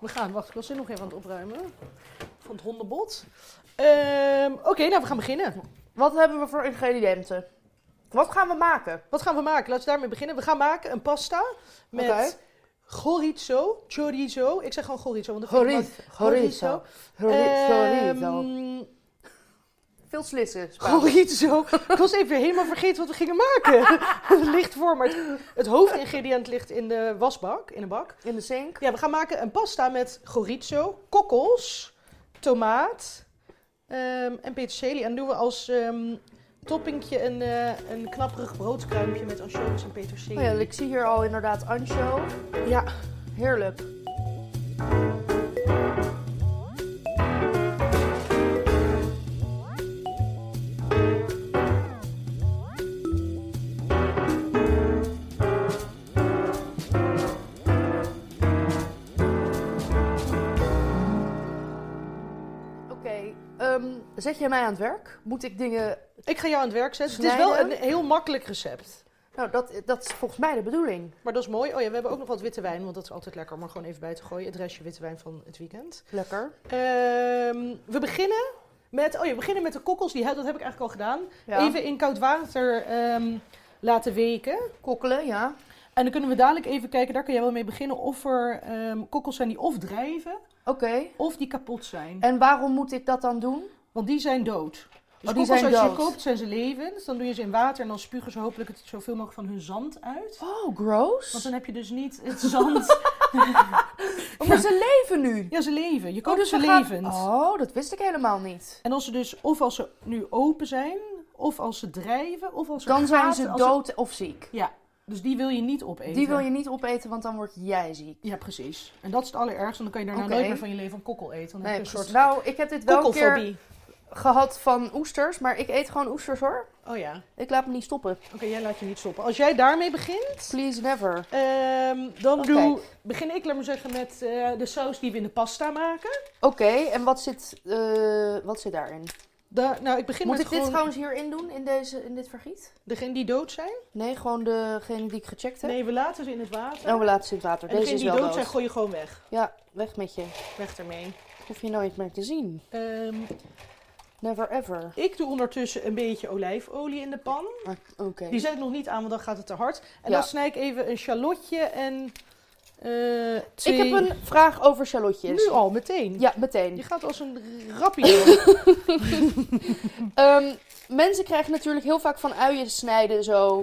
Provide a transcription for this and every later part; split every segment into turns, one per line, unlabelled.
We gaan, wacht, ik was er nog even aan het opruimen. Van het hondenbot. Ehm, Oké, nou we gaan beginnen.
Wat hebben we voor ingrediënten? Wat gaan we maken?
Wat gaan we maken? Laten we daarmee beginnen. We gaan maken een pasta met
Oké.
chorizo, chorizo. Ik zeg gewoon chorizo, want dat vind ik
Chorizo. Chorizo.
Ehm,
Chorizo. Veel slissen. Spaans.
Chorizo. Ik was even helemaal vergeten wat we gingen maken. Het ligt voor, maar het, het hoofdingrediënt ligt in de wasbak, in de bak.
In de zink.
Ja, we gaan maken een pasta met chorizo, kokkels, tomaat ehm, en peterselie. En doen we als ehm toppingje een, eh, een knapperig broodkruimpje met anchovies en peterselie.
Oh ja, ik zie hier al inderdaad ancho.
Ja.
Heerlijk. Oké, ehm, Zet jij mij aan het werk? Moet ik dingen.
Ik ga jou aan het werk zetten. Het is wel
Snijden.
een heel makkelijk recept.
Nou, dat, dat is volgens mij de bedoeling.
Maar dat is mooi. Oh ja, we hebben ook nog wat witte wijn, want dat is altijd lekker om er gewoon even bij te gooien. Het restje witte wijn van het weekend.
Lekker.
Ehm, we beginnen met, oh ja, we beginnen met de kokkels. Die, he- dat heb ik eigenlijk al gedaan.
Ja.
Even in koud water ehm, laten weken.
kokkelen, ja.
En dan kunnen we dadelijk even kijken, daar kun jij wel mee beginnen, of er ehm, kokkels zijn die of drijven,
Oké.
of die kapot zijn.
En waarom moet ik dat dan doen?
Want die zijn dood. Dus
Oh, die
kokkels
zijn
als je
dood.
koopt zijn ze levend. Dan doe je ze in water en dan spugen ze hopelijk het zoveel mogelijk van hun zand uit.
Oh,
Want
gross.
dan heb je dus niet het zand.
Oh, Maar ze leven nu.
ja, ze leven. Je
Oh,
koopt
dus
ze
we gaan-
levend.
Oh, dat wist ik helemaal niet.
En als ze dus, of als ze nu open zijn, of als ze drijven, of als ze
Dan zijn
gaten-
ze
als
dood of ziek.
Ja, dus die wil je niet opeten.
Die wil je niet opeten, want dan word jij ziek.
Ja, precies. En dat is het allerergste. Want dan kan je daarna
Oké.
nooit meer van je leven een kokkel eten. Dan
Nee,
heb je een
precies.
soort
Nou, ik heb dit wel een keer
kokkelfobie.
gehad van oesters, maar ik eet gewoon oesters hoor.
Oh ja.
Ik laat me niet stoppen.
Oké, jij laat je niet stoppen. Als jij daarmee begint,
Please never.
ehm, dan
Oké.
doe, begin ik, laat maar zeggen, met eh, de saus die we in de pasta maken.
Oké, en wat zit, eh, wat zit daarin?
Da- nou, ik begin
Moet
met
ik dit
gewoon
trouwens hierin doen, in, deze, in dit vergiet?
degene die dood zijn.
Nee, gewoon degene die ik gecheckt heb?
Nee, we laten ze in het water.
Oh, we laten ze in het water.
en
Deze
degene
is
die
wel
dood,
dood.
zijn, gooi je gewoon weg.
Ja, weg met je.
Weg ermee.
Hoef je nooit meer te zien.
Ehm,
Never ever.
ik doe ondertussen een beetje olijfolie in de pan.
Ah, Oké.
Die zet ik nog niet aan, want dan gaat het te hard. En
Ja.
dan snij ik even een shallotje en eh,
Ik
twee...
heb een vraag over shallotjes.
Nu al, meteen.
Ja, meteen.
Je gaat als een rappie.
Ehm, mensen krijgen natuurlijk heel vaak van uien snijden zo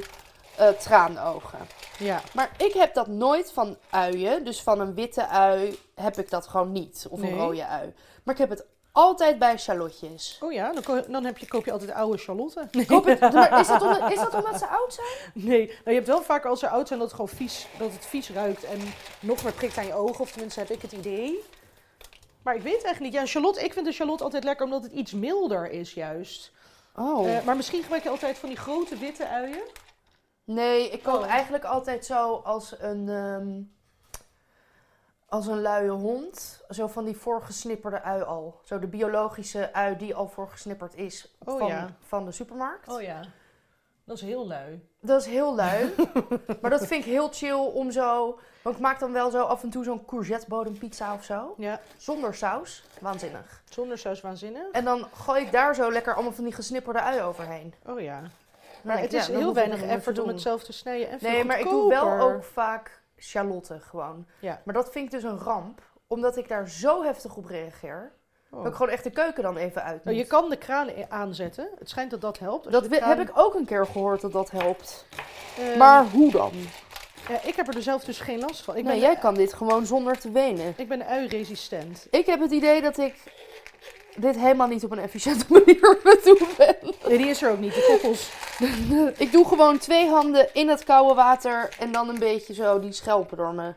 eh, traanogen.
ja.
Maar ik heb dat nooit van uien. Dus van een witte ui heb ik dat gewoon niet. Of
Nee.
een rode ui. Maar ik heb het altijd bij shallotjes.
Oh ja, dan, ko- dan heb je, koop je altijd oude charlotten.
Ik hoop het, maar is dat, omdat, is dat omdat ze oud zijn?
Nee, nou, je hebt wel vaker als ze oud zijn dat het gewoon vies, dat het vies ruikt en nog meer prikt aan je ogen. Of tenminste heb ik het idee. Maar ik weet het eigenlijk niet. Ja, een shallot, ik vind een shallot altijd lekker omdat het iets milder is juist.
Oh.
Eh, maar misschien gebruik je altijd van die grote witte uien.
nee, ik koop
Oh.
eigenlijk altijd zo als een, ehm, als een luie hond. Zo van die voorgesnipperde ui al. Zo de biologische ui die al voorgesnipperd is
Oh
van,
ja. Oh,
van de supermarkt.
ja, dat is heel lui.
Dat is heel lui. maar dat vind ik heel chill om zo. Want ik maak dan wel zo af en toe zo'n courgettebodempizza of zo.
Ja,
Zonder saus. Waanzinnig.
zonder saus waanzinnig.
En dan gooi ik daar zo lekker allemaal van die gesnipperde ui overheen.
Oh ja.
Dan
Maar
denk
het
ik,
is
ja, dan
heel
hoef ik het
weinig
niet meer te
effort om
doen.
het zelf te snijden. En veel
Nee, maar ik doe wel
goedkoper.
ook vaak Charlotte gewoon.
Ja.
Maar dat vind ik dus een ramp. Omdat ik daar zo heftig op reageer.
Oh.
Dat ik gewoon echt de keuken dan even uit
Nou, je
moet.
kan de kraan i- aanzetten. Het schijnt dat dat helpt. Als
Dat
je
we-
de kraan-
heb ik ook een keer gehoord dat dat helpt.
Ehm,
maar hoe dan?
eh, ik heb er zelf dus geen last van. Ik ben, eh,
Nee, jij kan dit gewoon zonder te wenen.
ik ben ui-resistent.
Ik heb het idee dat ik dit helemaal niet op een efficiënte manier aan het doen ben.
Nee, die is er ook niet. De kokkels.
Ik doe gewoon twee handen in het koude water en dan een beetje zo die schelpen door, me,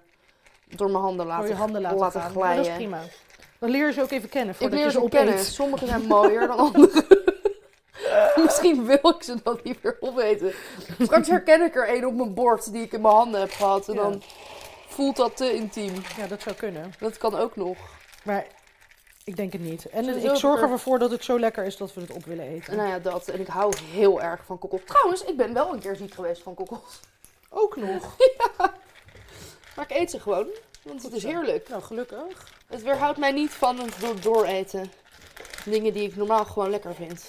door mijn handen laten,
Door je handen laten, gaan. Maar
glijden.
dat is prima. Dan leer je ze ook even kennen
Ik
voordat
leer
je ze
ze
opeet.
kennen. Sommige zijn mooier dan andere. Misschien wil ik ze dan niet meer opeten. Straks herken ik er een op mijn bord die ik in mijn handen heb gehad. En
Ja.
dan voelt dat te intiem.
Ja, dat zou kunnen.
Dat kan ook nog.
Maar ik denk het niet. En
Sowieso
ik zorg
heb ik er-
ervoor dat het zo lekker is dat we het op willen eten.
Nou ja, dat. En ik hou heel erg van kokkels. Trouwens, ik ben wel een keer ziek geweest van kokkels.
Ook nog.
Maar ik eet ze gewoon. Want
Goed
het is
zo.
heerlijk.
Nou, gelukkig.
Het weerhoudt mij niet van het door dooreten. Dingen die ik normaal gewoon lekker vind.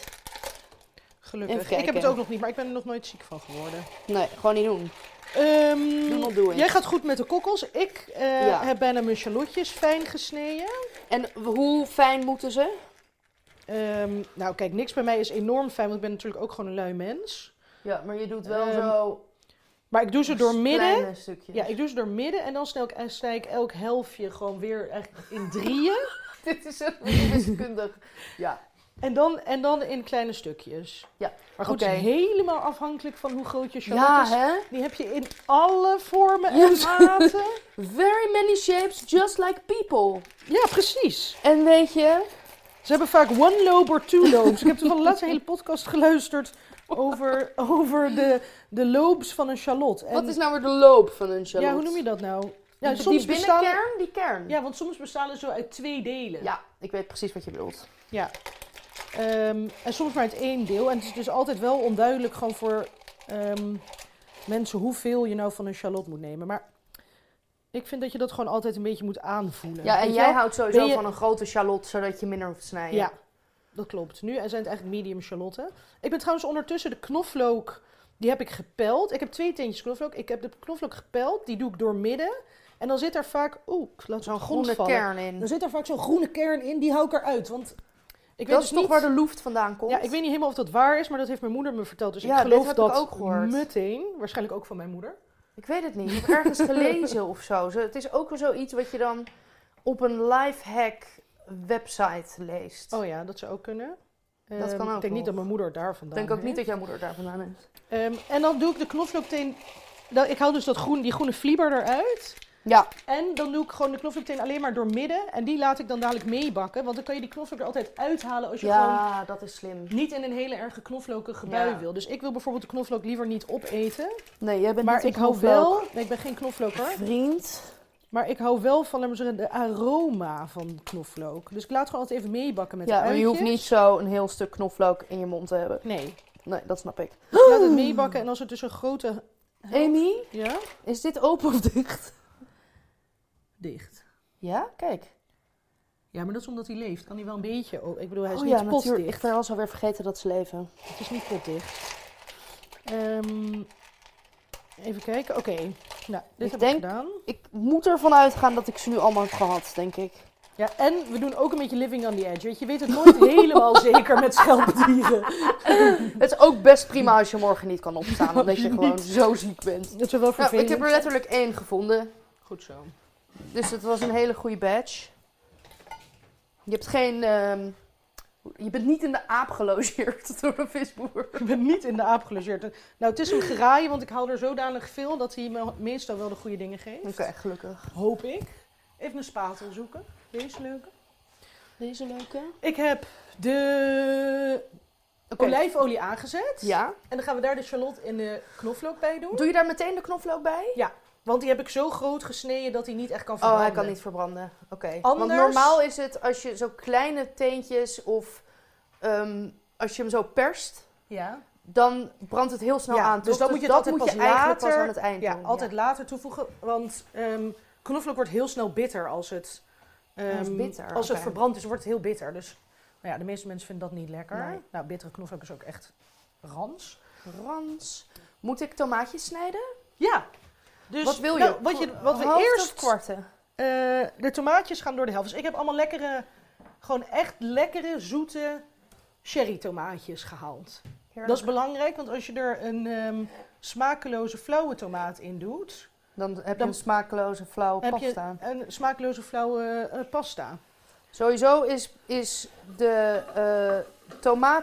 Gelukkig.
Even
Ik heb het
kijken.
ook nog niet, maar ik ben er nog nooit ziek van geworden.
Nee, gewoon niet doen.
Ehm,
Do not do it.
jij gaat goed met de kokkels. Ik eh,
Ja.
heb bijna mijn shallotjes fijn gesneden.
En hoe fijn moeten ze?
Ehm, nou, kijk, niks bij mij is enorm fijn, want ik ben natuurlijk ook gewoon een lui mens.
Ja, maar je doet
wel
zo...
Maar ik doe ze door midden.
Kleine stukjes.
Ja, ik doe ze door midden en dan snij ik, en snij ik elk helftje gewoon weer eigenlijk in drieën.
Dit is een wiskundig. Ja.
en, dan, en dan in kleine stukjes.
Ja,
Maar goed,
oké.
het is helemaal afhankelijk van hoe groot je shallot
Ja,
is.
hè?
Die heb je in alle vormen en
Ja.
maten.
Very many shapes, just like people.
Ja, precies.
En weet je,
Ze hebben vaak one lobe or two lobes. Ik heb toevallig laatst een hele podcast geluisterd over, over de, de lobes van een shallot. En-
wat is nou weer de loop van een shallot?
Ja, hoe noem je dat nou? Ja,
Die-
soms
die
bestaan,
binnenkern, die kern.
ja, want soms bestaan er zo uit twee delen.
Ja, ik weet precies wat je bedoelt.
Ja. Ehm, en soms maar uit één deel. En het is dus altijd wel onduidelijk gewoon voor ehm, mensen hoeveel je nou van een shallot moet nemen. Maar ik vind dat je dat gewoon altijd een beetje moet aanvoelen.
Ja, en
Weet je
jij
wel?
houdt sowieso
Ben je-
van een grote shallot, zodat je minder hoeft te snijden.
Ja, dat klopt. Nu zijn het eigenlijk medium shallotten. Ik ben trouwens ondertussen de knoflook, die heb ik gepeld. Ik heb twee teentjes knoflook. Ik heb de knoflook gepeld, die doe ik doormidden. En dan zit er vaak, oeh, ik laat zo'n
Zo'n
grond
groene
vallen.
kern in.
Dan zit er vaak zo'n groene kern in, die hou ik eruit. Want ik weet
dat
dus
is toch
niet...
waar de loeft vandaan komt?
Ja, ik weet niet helemaal of dat waar is, maar dat heeft mijn moeder me verteld. Dus
Ja,
ik
dit
geloof
heb ik
dat
ook gehoord.
meteen. Waarschijnlijk ook van mijn moeder.
Ik weet het niet. Ik heb ergens gelezen of zo. Zo, Het is ook wel zoiets wat je dan op een lifehack website leest.
Oh ja, dat zou ook kunnen.
Dat
Ehm,
kan ook
Ik denk niet
nog.
dat mijn moeder daar
ik
vandaan
denk ook
heeft.
niet dat jouw moeder daar vandaan is.
Ehm, en dan doe ik de knoflookteen. dat- Ik haal dus dat groen, die groene vlieber eruit.
Ja,
En dan doe ik gewoon de knoflookteen alleen maar door midden. En die laat ik dan dadelijk meebakken. Want dan kan je die knoflook er altijd uithalen als je gewoon
ja Ah, dat is slim.
niet in een hele erge knoflookige bui
Ja.
wil. Dus ik wil bijvoorbeeld de knoflook liever niet opeten.
Nee, jij bent
maar ik hou wel. Nee, ik ben geen knoflooker.
Vriend.
Maar ik hou wel van laat maar zeggen, de aroma van knoflook. Dus ik laat gewoon altijd even meebakken met
ja, maar
uitjes.
je hoeft niet zo een heel stuk knoflook in je mond te hebben.
Nee,
Nee, dat snap ik.
ik laat het meebakken en als het dus een grote...
Amy,
Ja?
is dit open of dicht?
Dicht.
Ja, kijk.
Ja, maar dat is omdat hij leeft. Kan hij wel een beetje... Oh, ik bedoel, hij is
oh
niet
ja, natuurlijk. Ik
potdicht.
ben al alweer vergeten dat ze leven.
Het is niet potdicht. Ehm, even kijken. Oké. Nou, dit
Ik
heb
denk-
ik gedaan.
Ik moet ervan uitgaan dat ik ze nu allemaal heb gehad, denk ik.
Ja, en we doen ook een beetje living on the edge. Weet je, je weet het nooit helemaal zeker met schelpdieren.
Het is ook best prima als je morgen niet kan opstaan, omdat je gewoon zo ziek bent.
Dat is wel
Nou, ik
vervelend.
heb er letterlijk één gevonden.
Goed zo.
Dus het was een hele goede badge. Je hebt geen... ehm, je bent niet in de aap gelogeerd door een visboer.
Ik ben niet in de aap gelogeerd. Nou, het is hem geraaien, want ik hou er zodanig veel dat hij me meestal wel de goede dingen geeft.
Oké, gelukkig.
Hoop ik. Even een spatel zoeken. Deze leuke.
Deze leuke.
Ik heb de
Oké.
olijfolie aangezet.
Ja.
En dan gaan we daar de shallot en de knoflook bij doen.
Doe je daar meteen de knoflook bij?
Want die heb ik zo groot gesneden dat hij niet echt kan
Oh,
verbranden.
hij kan niet verbranden. Oké. Want
Anders-
normaal is het als je zo kleine teentjes of ehm, als je hem zo perst,
Ja,
dan brandt het heel snel
Ja,
aan.
dus
toch?
dan moet je het
dat
altijd
moet je
pas
eigenlijk
later-
pas aan het eind
ja
doen.
altijd later toevoegen. Want ehm, knoflook wordt heel snel bitter als het... ehm,
Als bitter,
Als het
oké.
verbrand is, wordt het heel bitter. Dus nou ja, de meeste mensen vinden dat niet lekker.
Nee.
Nou, bittere knoflook is ook echt rans.
Rans. Moet ik tomaatjes snijden?
Ja. Dus,
wat wil je?
nou, wat, je, wat we
Half tot
eerst...
kwarten.
eh, de tomaatjes gaan door de helft. Dus ik heb allemaal lekkere, gewoon echt lekkere, zoete sherry tomaatjes gehaald. Dat is belangrijk, want als je er een ehm, smakeloze flauwe tomaat in doet...
Dan heb je
Dan-
een smakeloze flauwe
heb
pasta.
je een smakeloze flauwe eh, pasta.
Sowieso is, is de eh,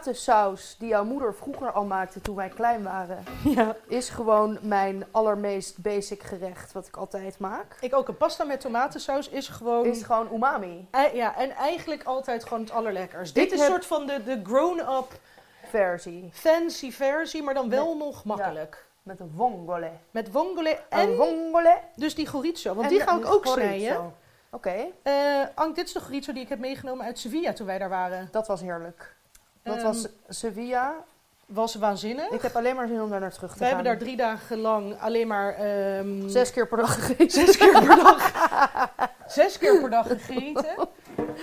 tomatensaus die jouw moeder vroeger al maakte toen wij klein waren,
Ja.
is gewoon mijn allermeest basic gerecht wat ik altijd maak.
Ik ook. Een pasta met tomatensaus is gewoon...
Is gewoon umami.
Eh, ja, en eigenlijk altijd gewoon het allerlekkers. Dit
Ik
is een
heb-
soort van de, de grown-up
versie.
fancy versie, maar dan wel nog makkelijk.
Met een wongole.
Met vongole
Een
en
wongole.
dus die gorizo, want
Oh, en
die ga
een
ik ook
chorizo.
snijden.
Oké,
Eh Ank, dit is de gorizo die ik heb meegenomen uit Sevilla toen wij daar waren.
dat was heerlijk. Dat
Ehm,
was Sevilla
was waanzinnig.
Ik heb alleen maar zin om daar naar terug te
We
gaan.
hebben daar drie dagen lang alleen maar... ehm,
zes keer per dag gegeten.
zes keer per dag... zes keer per dag gegeten.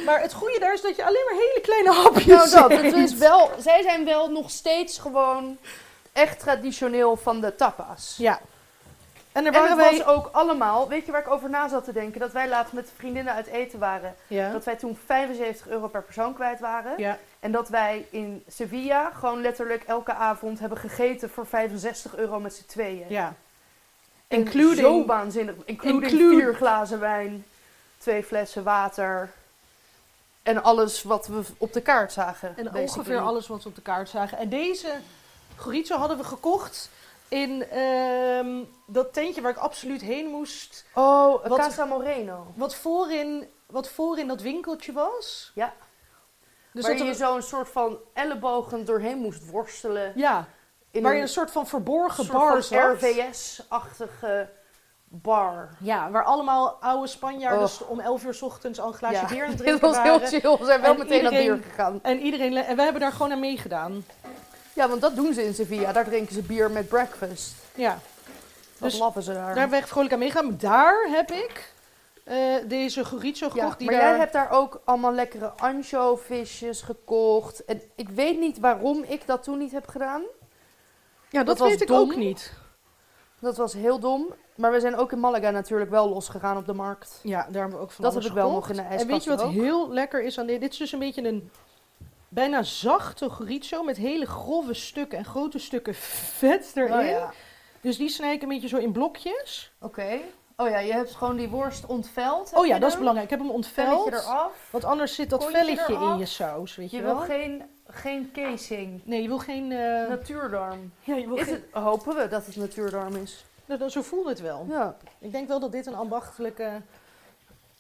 Maar het goede daar is dat je alleen maar hele kleine hapjes
Nou dat,
eet.
het is wel, zij zijn wel nog steeds gewoon echt traditioneel van de tapas.
Ja. En er
En
waren
het
wij...
was ook allemaal, weet je waar ik over na zat te denken? Dat wij laatst met vriendinnen uit eten waren.
Ja.
Dat wij toen 75 euro per persoon kwijt waren.
ja.
En dat wij in Sevilla gewoon letterlijk elke avond hebben gegeten voor 65 euro met z'n tweeën.
Ja.
En
Including-
zo waanzinnig. Including
Include-
vier glazen wijn, twee flessen water en alles wat we op de kaart zagen.
En
basically.
ongeveer alles wat we op de kaart zagen. En deze chorizo hadden we gekocht in ehm, dat tentje waar ik absoluut heen moest.
Oh,
Wat-
Casa Moreno.
Wat voorin, wat voorin dat winkeltje was.
Ja.
Dus
waar
dat
je
er,
zo een soort van ellebogen doorheen moest worstelen.
ja,
In
waar je
een
een soort van verborgen
soort
bar
van
zat.
RVS-achtige bar.
Ja, waar allemaal oude Spanjaarden
Och.
st- om 11 uur 's ochtends al een glaasje
Ja.
bier aan het
Dit
drinken
was heel
waren.
chill. We zijn wel
En
meteen naar
iedereen-
bier gegaan.
En iedereen, le- en we hebben daar gewoon aan meegedaan.
Ja, want dat doen ze in Sevilla. Daar drinken ze bier met breakfast.
Ja.
Dat
Dus
lappen ze daar.
Daar hebben we echt vrolijk aan meegaan. Maar Daar heb ik eh, deze chorizo
Ja,
gekocht. die
maar
daar...
jij hebt daar ook allemaal lekkere anchovisjes gekocht. En ik weet niet waarom ik dat toen niet heb gedaan.
Ja, dat,
dat was
weet ik
dom.
ook niet.
Dat was heel dom. Maar we zijn ook in Malaga natuurlijk wel losgegaan op de markt.
Ja, daar hebben we ook van
dat heb
alles
ik wel
gekocht.
nog in de ijskast.
En weet je wat
ook.
heel lekker is aan dit? Dit is dus een beetje een bijna zachte chorizo met hele grove stukken en grote stukken vet erin.
Oh ja.
Dus die snij ik een beetje zo in blokjes.
Oké. Oh ja, je hebt gewoon die worst ontveld. heb
oh ja,
je
dat is
dan.
belangrijk. Ik heb hem
Velletje
ontveld.
eraf.
Want anders zit dat
Kontje
velletje in
eraf.
je saus, weet je,
Je wil
wel?
geen, geen casing.
Nee, je wil geen... eh,
Natuurdarm.
ja, je wil
Is
geen...
het, hopen we dat het natuurdarm is.
Nou, dan- zo voelde het wel.
Ja.
Ik denk wel dat dit een ambachtelijke,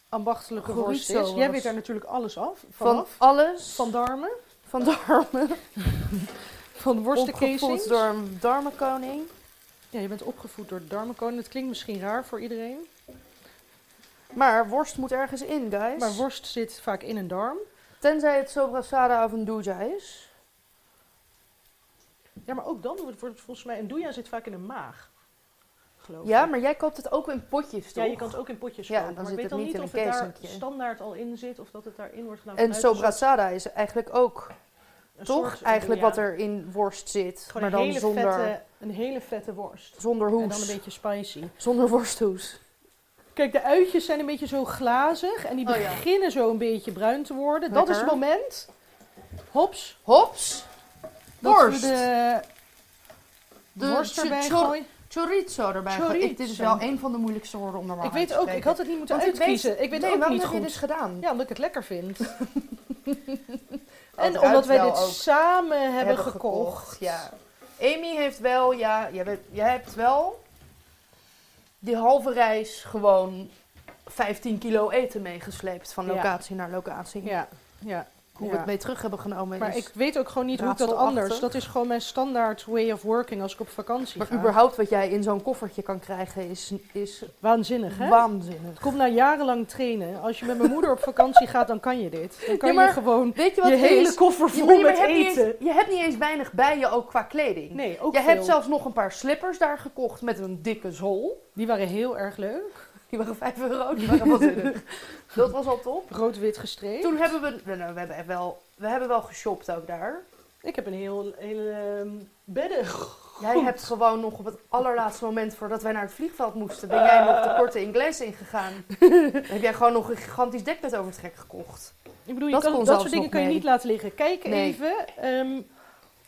ambachtelijke
Chorizo
worst is. Jij
was.
weet daar natuurlijk alles af,
Van
vanaf.
alles.
Van darmen,
van darmen.
van worstenkasings.
Opgevoed door een darmenkoning.
Ja, je bent opgevoed door de darmenkoning. Dat klinkt misschien raar voor iedereen.
Maar worst moet ergens in, guys.
Maar worst zit vaak in een darm.
Tenzij het sobrasada of een doja is.
Ja, maar ook dan wordt wordt het volgens mij... Een doja zit vaak in een maag, geloof ik.
Ja, maar jij koopt het ook in potjes,
Ja,
toch?
je kan het ook in potjes
Ja,
kopen.
dan
maar ik
zit
weet dan
het niet
niet
in
of
een
het daar
keesinkje.
standaard al in zit of dat het daarin wordt gedaan.
En
vanuit een
sobrasada is eigenlijk ook,
soort- een
toch?
soort
eigenlijk
doja.
wat er in worst zit.
Gewoon
maar
een,
dan
hele
zonder,
vette, een hele vette worst.
zonder
En dan een
hoes.
beetje spicy.
Zonder worsthoes.
Kijk, de uitjes zijn een beetje zo glazig en die
Oh ja.
beginnen zo een beetje bruin te worden. Dat is het
Lekker.
moment. Hops.
Hops.
Dat
Worst.
we de,
De
worst
cho-
erbij
chor-
gooien.
Chorizo erbij.
Chorizo.
Ik- dit is wel een van de moeilijkste woorden om normaal
Ik
uit
weet
te
ook,
spreken.
ik had het niet moeten
Want ik weet-
uitkiezen. Ik weet
nee,
ook
waarom
niet
heb je
goed.
dit gedaan?
Ja, omdat ik het lekker vind.
het
en omdat
ruikt
wij
wel
dit
ook.
samen hebben, gekocht.
Ja. Amy heeft wel, ja, jij, bent- jij hebt wel die halve reis gewoon 15 kilo eten meegesleept van
Ja.
locatie naar locatie.
Ja, ja.
Hoe
ja.
we het mee terug hebben genomen
Maar
is.
ik weet ook gewoon niet hoe ik dat
raadselachtig.
anders. Dat is gewoon mijn standaard way of working als ik op vakantie
maar
ga.
überhaupt wat jij in zo'n koffertje kan krijgen is, is
Waanzinnig, hè?
waanzinnig.
Het komt na nou jarenlang trainen. Als je met mijn moeder op vakantie gaat, dan kan je dit. Dan kan
Ja, maar
je gewoon
Weet je wat
je
het
hele
is?
koffer
Je-
vol
maar je
met
hebt niet
eten.
eens- je hebt niet eens weinig bij je ook qua kleding.
Nee, ook
je
veel.
hebt zelfs nog een paar slippers daar gekocht met een dikke zool.
Die waren heel erg leuk.
Die waren 5 euro, die waren waanzinnig. Dat was al top.
Rood-wit gestreept.
Toen hebben we, we, nou, we hebben wel, we hebben wel geshopt ook daar.
Ik heb een heel, heel ehm, bedden.
Jij hebt gewoon nog op het allerlaatste moment voordat wij naar het vliegveld moesten, ben jij nog de korte Ingles ingegaan. Dan heb jij gewoon nog een gigantisch dekbed overtrek gekocht.
Ik bedoel, je
Dat
kan,
kon
dat soort
zelfs
dingen
nog
kan je
mee.
niet laten liggen. Kijk
Nee.
even. ehm,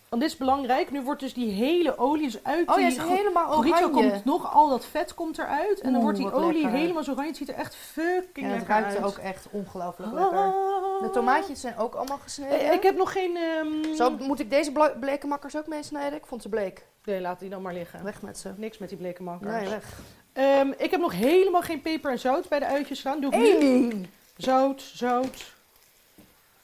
want dit is belangrijk. Nu wordt dus die hele olie is uit
Oh,
die
jij is
go-
helemaal
Chorizo
oranje.
komt nog, al dat vet komt eruit. En dan
Oeh,
wordt die
wat
olie
lekker.
helemaal zo oranje. Het ziet er echt fucking
en het
lekker
ruikt
uit.
ook echt ongelooflijk
Ah.
lekker. De tomaatjes zijn ook allemaal
Eh,
gesneden.
Ik heb nog geen... ehm,
Zo moet ik deze bla- bleke makkers ook meesnijden? Ik vond ze bleek.
Nee, laat die dan maar liggen.
Weg met ze.
Niks met die bleke makkers.
Nee, weg.
Ehm, ik heb nog helemaal geen peper en zout bij de uitjes staan. Doe ik nu.
Amy!
Zout, zout.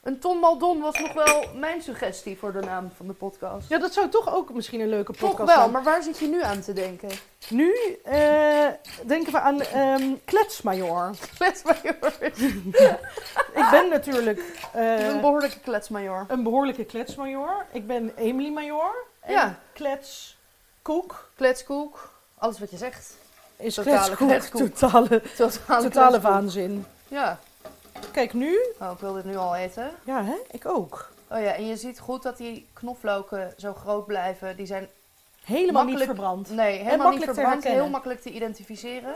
Een ton Maldon was nog wel mijn suggestie voor de naam van de podcast.
Ja, dat zou toch ook misschien een leuke podcast
Toch wel,
zijn.
maar waar zit je nu aan te denken?
Nu eh, denken we aan ehm kletsmajor.
Kletsmajor.
Ik ben natuurlijk eh,
een behoorlijke kletsmajor.
een behoorlijke kletsmajor. Ik ben Emily Major. En
Ja.
klets, koek.
Kletskoek. Alles wat je zegt.
Is
Totale
kletskoek.
kletskoek.
Totale,
Totale,
totale
kletskoek.
waanzin.
Ja.
Kijk nu.
Oh, ik wil dit nu al eten.
Ja, hè? ik ook.
Oh ja, en je ziet goed dat die knoflooken zo groot blijven. Die zijn
Helemaal
Makkelijk-
niet verbrand.
nee, helemaal niet
makkelijk te
verbrand,
herkennen.
heel makkelijk te identificeren.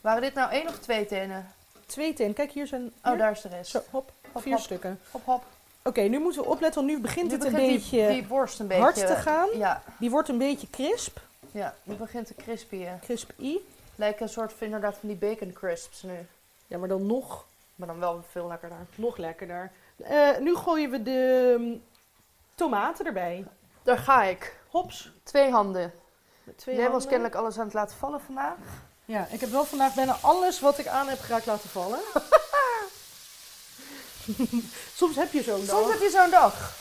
Waren dit nou één of twee tenen?
Twee teen. Kijk, hier zijn...
Oh,
hier.
daar is de rest.
Zo, hop.
Hop,
Vier
hop.
stukken.
Hop, hop.
Oké, nu moeten we opletten, want nu begint
Nu
het een
begint
beetje
die, die worst een beetje
hard te gaan.
Ja,
Die wordt een beetje crisp.
ja, die begint te crispyen.
Crisp i.
Lijken een soort van, inderdaad van die bacon crisps nu.
Ja, maar dan nog,
Maar dan wel veel lekkerder.
nog lekkerder. Eh, nu gooien we de mm, tomaten erbij.
Daar ga ik.
Hops.
Twee handen.
Met twee
Jij was
handen.
kennelijk alles aan het laten vallen vandaag.
Ja, ik heb wel vandaag bijna alles wat ik aan heb geraakt laten vallen. Soms heb je zo'n
Soms
dag.
heb je zo'n dag.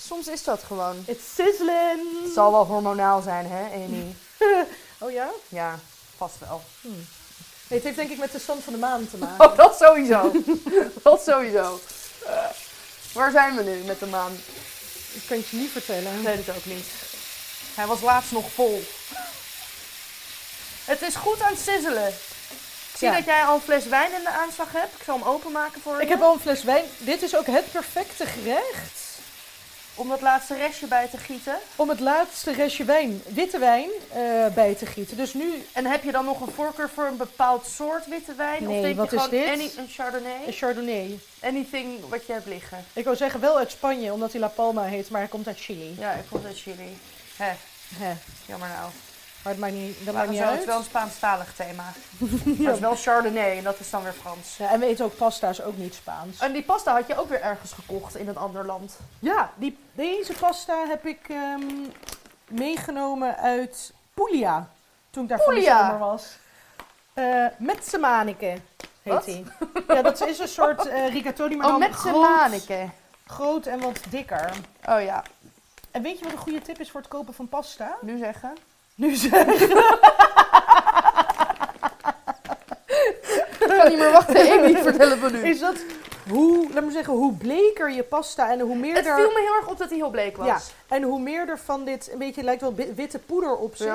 Soms is dat gewoon.
It's sizzling.
Het zal wel hormonaal zijn, hè, Amy?
Oh ja?
Ja, vast wel.
Nee, het heeft denk ik met de stand van de maan te maken.
Oh, dat sowieso. dat sowieso. Eh, waar zijn we nu met de maan?
Ik kan het je niet vertellen.
Ik weet het ook niet. Hij was laatst nog vol. Het is goed aan het sizzelen. Ik zie
Ja.
dat jij al een fles wijn in de aanslag hebt. Ik zal hem openmaken voor
Ik
je.
heb al een fles wijn. Dit is ook het perfecte gerecht
Om dat laatste restje bij te gieten.
om het laatste restje wijn, witte wijn, eh, bij te gieten. Dus nu
En heb je dan nog een voorkeur voor een bepaald soort witte wijn?
Nee,
of denk
wat
je
is
gewoon
dit?
any- een chardonnay?
een chardonnay.
Anything wat je hebt liggen.
Ik wou zeggen wel uit Spanje, omdat hij La Palma heet, maar hij komt uit Chili.
Ja, ik vond het chili. Hè,
Hè,
jammer nou.
Maar het maakt niet, dat
Maar
maakt
dan
niet
zou het
uit.
wel een Spaanstalig thema. Maar het is wel Chardonnay en dat is dan weer Frans.
Ja, en we eten ook pasta's ook niet Spaans.
En die pasta had je ook weer ergens gekocht in een ander land.
Ja, die, deze pasta heb ik ehm, meegenomen uit Puglia. Toen ik daar voor de
Puglia?
zomer was. Eh met semanike heet
Wat?
hij. Ja, dat is een soort eh rigatoni, maar
Oh,
dan
met
groot,
semanike.
groot en wat dikker.
Oh ja,
En weet je wat een goede tip is voor het kopen van pasta?
nu zeggen.
Nu zeg.
Ik kan niet meer wachten, Amy, vertellen we nu.
Is dat hoe, laat me zeggen, hoe bleker je pasta en hoe meer
Het
er...
viel me heel erg op dat hij heel bleek was.
Ja, en hoe meer er van dit, een beetje lijkt wel wi- witte poeder op zit,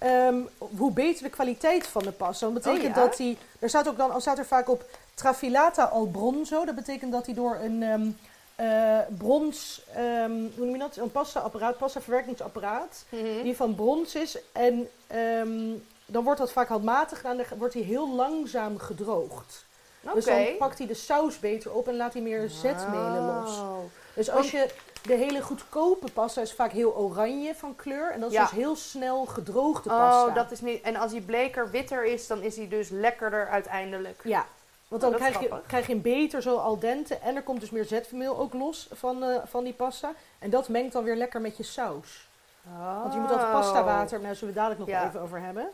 Ja.
ehm, hoe beter de kwaliteit van de pasta. Dat betekent
Oh, ja?
dat die, er staat ook dan, al staat er vaak op trafilata al bronzo. Dat betekent dat die door een ehm, eh, brons, ehm, hoe noem je dat, een pasta-apparaat, pasta-verwerkingsapparaat,
Mhm.
die van brons is. En ehm, dan wordt dat vaak handmatig gedaan, dan wordt hij heel langzaam gedroogd.
Oké.
Dus dan pakt hij de saus beter op en laat hij meer zetmelen los.
Oh.
Dus als je de hele goedkope pasta is vaak heel oranje van kleur. En dat is
Ja.
dus heel snel gedroogde pasta.
Oh, dat is niet... En als hij bleker witter is, dan is hij dus lekkerder uiteindelijk.
Ja, want dan
Oh, dat is
krijg, je,
grappig.
krijg je een beter zo al dente. En er komt dus meer zetmeel ook los van, eh, van die pasta. En dat mengt dan weer lekker met je saus. Want je moet dat
Oh.
pasta water, daar zullen we dadelijk nog
Ja.
even over hebben.